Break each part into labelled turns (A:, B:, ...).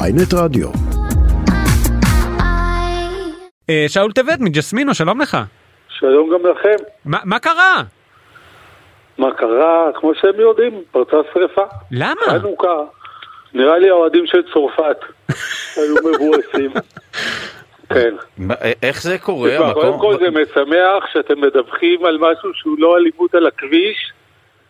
A: ויינט רדיו.
B: אה, שאול טבת מג'סמינו, שלום לך.
C: שלום גם לכם.
B: מה, מה קרה?
C: מה קרה? כמו שהם יודעים, פרצה שרפה.
B: למה?
C: חנוכה. נראה לי האוהדים של צרפת היו מבואסים. כן.
D: מה, א- איך זה קורה?
C: תשמע, קודם כל זה משמח שאתם מדווחים על משהו שהוא לא אלימות על הכביש,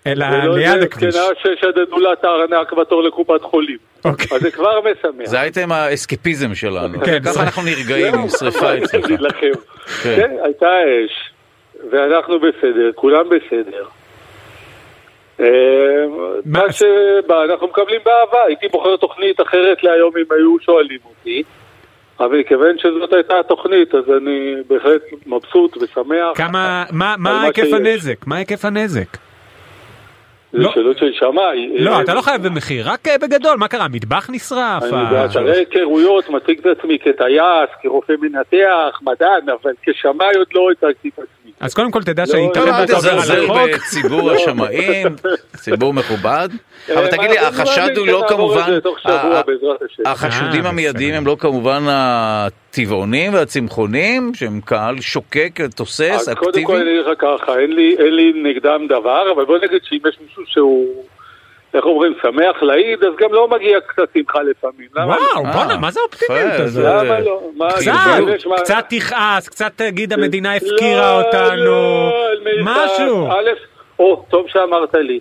B: אלא
C: ולא
B: אה, ליד
C: איזה
B: הכביש.
C: זקנה ששדדו לה את הארנק בתור לקופת חולים.
B: אוקיי.
C: אז זה כבר משמח.
D: זה אייטם האסקפיזם שלנו.
B: כן, זה-
D: ככה אנחנו נרגעים עם שריפה
C: אני
D: אצלך.
C: אגיד לכם.
D: כן.
C: כן, הייתה אש, ואנחנו בסדר, כולם בסדר. אה,
B: מה-
C: מה שבא, אנחנו מקבלים באהבה. הייתי בוחר תוכנית אחרת להיום אם היו שואלים אותי. אבל מכיוון שזאת הייתה התוכנית, אז אני בהחלט מבסוט ושמח.
B: כמה, מה, מה
C: מה
B: היקף
C: שיש. אה,
B: הנזק? מה היקף הנזק?
C: זה
B: לא.
C: שאלות של שמאי.
B: לא,
C: אה,
B: אתה לא חייב במחיר, רק אה, בגדול, מה קרה? מטבח נשרף? אה,
C: אני
B: ה-
C: באתרי היכרויות מציג את עצמי כטייס, כרופא מנתח, מדען, אבל כשמאי עוד לא הצגתי את עצמי.
B: אז קודם כל תדע
C: לא,
D: טוב,
B: שהאינטרנט
D: אל
C: אתה עובר
B: עובר
D: תזלזל
B: על החוק.
D: בציבור השמאים, ציבור מכובד.
C: אה,
D: אבל תגיד לי,
C: אנחנו
D: החשד
C: מאמינים
D: הוא לא
C: שנעבור כן את
D: כמובן...
C: זה תוך שבוע,
D: ה- ה-
C: בעזרת השם.
B: אה,
D: החשודים
B: בסדר.
D: המיידיים הם לא כמובן הטבעונים והצמחונים, שהם קהל שוקק, תוסס,
C: אז אה, קודם כל
D: אקטיבי.
C: אני אגיד לך ככה, אין לי, אין לי נגדם דבר, אבל בוא נגיד שאם יש מישהו שהוא, איך אומרים, שמח להעיד, אז גם לא מגיע קצת שמחה לפעמים. למה?
B: וואו,
D: אה,
B: בואנה, מה זה האופטימיות
D: יפה,
B: הזאת?
D: זה-
C: למה לא? מה,
D: קצת,
C: אני
B: קצת,
C: חושב, מה- אה,
B: קצת תכעס, קצת תגיד המדינה הפקירה
C: לא,
B: אותנו,
C: לא, אה, מיכל,
B: משהו.
C: א', או, טוב שאמרת לי.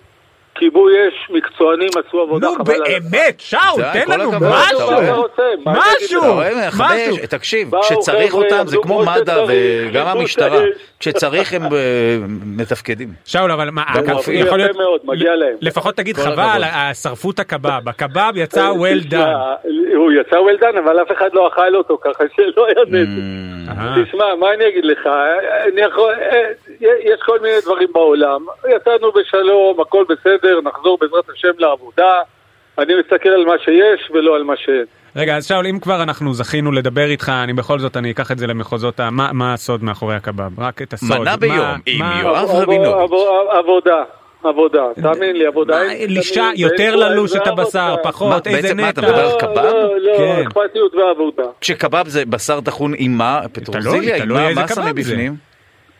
C: כיבוי אש, מקצוענים עשו עבודה
B: נו
C: חבל על הזמן.
B: באמת, שאול,
D: די,
B: תן
D: כל
B: לנו
D: הכבוד,
C: לא,
B: משהו.
D: אתה
C: אתה רוצה, מה אני אגיד
B: משהו.
C: לך?
D: אתה רואה,
B: משהו.
D: מחדש, אה, תקשיב,
C: באו,
D: כשצריך
C: חבר'ה,
D: אותם זה
C: עבדו
D: כמו
C: כמו
D: מד"א
C: שצריך,
D: וגם
C: כמו
D: המשטרה,
C: שצריך.
D: כשצריך הם אה, מתפקדים.
B: שאול, אבל מה,
D: גם
B: הכ-
D: רופאים.
B: יכול להיות,
C: יפה מאוד, מגיע להם.
B: לפחות תגיד
D: כל
B: חבל,
D: הכבוד.
B: ה- שרפו את הקבב, הקבב יצא well
C: אה, תשמע,
B: done.
C: הוא יצא well done, אבל אף אחד לא אכל אותו, ככה שלא היה נטו.
B: אה,
C: תשמע, מה אני אגיד לך? אני יכול, אה, יש כל מיני דברים בעולם. יצאנו בשלום, הכל בסדר, נחזור בעזרת השם לעבודה. אני מסתכל על מה שיש ולא על מה שאין.
B: רגע, אז שאול, אם כבר אנחנו זכינו לדבר איתך, אני בכל זאת, אני אקח את זה למחוזות ה... מה מה הסוד מאחורי הקבב? רק את הסוד.
D: מנה
B: מה-
D: ביום, עם
B: מה-
D: יואב.
C: עב-
D: רבינוביץ'.
C: עב- עבודה, עבודה. תאמין לי, עבודה.
B: אה, מה,
C: אין-
B: לישה,
C: תמיד,
B: יותר
C: ואין-
B: ללוש
C: ואין
B: את הבשר,
C: עבודה.
B: פחות,
D: מה,
B: איזה
D: בעצם מה, אתה
B: נטע.
D: מדבר
C: לא,
D: על קבב?
C: לא, לא,
B: כן.
C: אכפתיות ועבודה.
D: כשקבב זה בשר טחון עם מה? פטרוזיליה? עם
B: תלוי
D: מה?
B: איזה
D: מה
B: קבב זה.
D: שמים בפנים?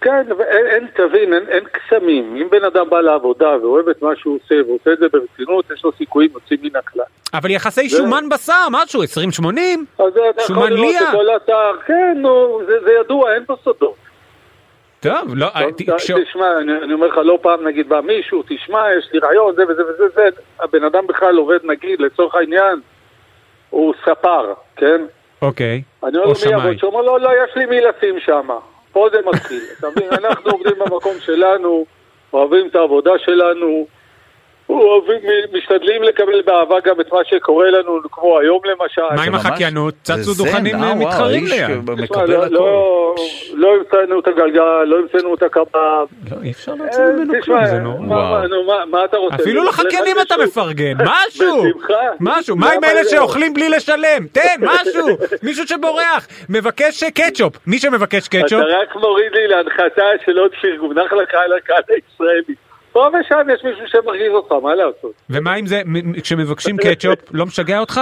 C: כן, אבל אין, אין תבין, אין, אין קסמים. אם בן אדם בא לעבודה ואוהב את מה שהוא עושה ועושה את זה ברצינות, יש לו סיכויים יוצאים מן הכלל.
B: אבל יחסי
C: זה-
B: שומן בשר, משהו, 20-80?
C: אז זה אתה
B: שומן
C: יכול לראות
B: ליה.
C: את כל האתר, כן, נו, זה, זה ידוע, אין פה סודות.
B: טוב, לא, אה, ת-
C: טוב,
B: כש-
C: תשמע, אני, אני אומר לך, לא פעם נגיד בא מישהו, תשמע, יש לי רעיון, זה וזה וזה, זה. הבן אדם בכלל עובד, נגיד, לצורך העניין, הוא ספר, כן?
B: אוקיי.
C: אני אומר
B: או
C: לו מי יעבוד
B: שמאי.
C: שם, הוא אומר, לא, לא, יש לי מי לשים שם. פה זה מתחיל. אתה מבין, אנחנו עובדים במקום שלנו, אוהבים את העבודה שלנו, אוהבים, משתדלים לקבל באהבה גם את מה שקורה לנו, כמו היום למשל.
B: מה עם
D: זה ממש-
B: החקיינות? צצו
D: זה זן,
B: דוכנים,
D: אה, וואו,
B: מתחרים
D: האיש
B: ליד.
C: תשמע,
D: מקבל
C: לא-
D: הכל.
C: לא- לא המצאנו את הגלגל, לא המצאנו את הקבב.
B: לא, אי אפשר להוציא ממנו
C: אה,
B: כלום,
C: תשמע,
B: זה
C: מה-
B: נורא.
D: וואו.
C: מה- נו, מה- מה אתה רוצה?
B: אפילו
C: לך
B: לחקיינים אתה
C: משהו.
B: מפרגן, משהו,
C: בשמחה.
B: משהו, מה עם
C: למה
B: אלה
C: לא?
B: שאוכלים בלי לשלם? תן, משהו, מישהו שבורח, מבקש אה, קטשופ, מי שמבקש קטשופ,
C: אתה רק מוריד לי להנחתה של עוד שיר, מונח לך על הקהל הישראלי. פה ושם יש מישהו שמרגיז אותך, מה לעשות?
B: ומה עם זה, מ- מ- כשמבקשים קטשופ, לא משגע אותך?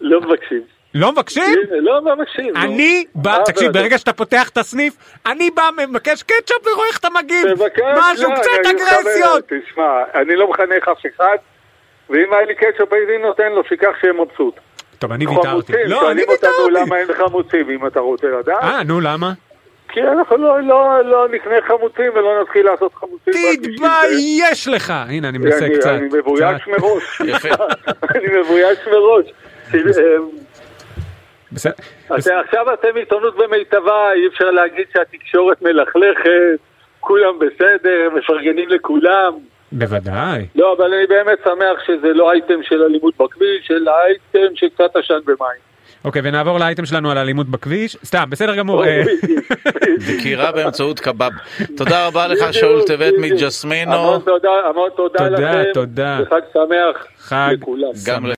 C: לא מבקשים.
B: לא מבקשים?
C: הנה, לא, לא מבקשים. נו.
B: אני בא,
C: אה,
B: תקשיב,
C: אבל-
B: ברגע שאתה פותח את הסניף, אני בא, מבקש קטשופ ורואה איך אתה מגיב,
C: מבקש,
B: משהו,
C: לא,
B: קצת
C: אני מכבד,
B: אגרסיות.
C: תשמע, אני לא מחנך אף אחד, ואם היה לי קטשופ הייתי נותן לו, שייקח שיהיה מבסוט.
B: טוב, אני ויתרתי.
C: חמוצים,
B: לא, אני
C: שואלים אותנו
B: ויתרתי.
C: למה אין חמוצים, אם אתה רוצה לדעת.
B: אה, נו, למה?
C: כי אנחנו לא- לא לא נקנה חמוצים ולא נתחיל לעשות חמוצים. רק בשביל זה.
B: תתבייש לך! הנה, אני מנסה
C: אני-
B: קצת.
C: אני מבויש
B: קצת.
C: מראש.
D: יפה.
C: אני מבויש מראש. אה,
B: בסדר.
C: אתם- עכשיו אתם עיתונות במיטבה, אי אפשר להגיד שהתקשורת מלכלכת, כולם בסדר, מפרגנים לכולם.
B: בוודאי.
C: לא, אבל אני באמת שמח שזה לא אייטם של אלימות בכביש, אלא אייטם שקצת עשן במים.
B: אוקיי, ונעבור לאייטם שלנו על אלימות בכביש. סתם, בסדר גמור. אה,
D: דקירה באמצעות קבב. תודה רבה לך, שאול
C: בדיוק,
D: טבת
C: בדיוק.
D: מג'סמינו.
C: המון תודה, המון תודה
B: תודה,
C: לכם.
B: תודה.
C: וחג שמח
B: חג
C: לכולם.
D: גם לך.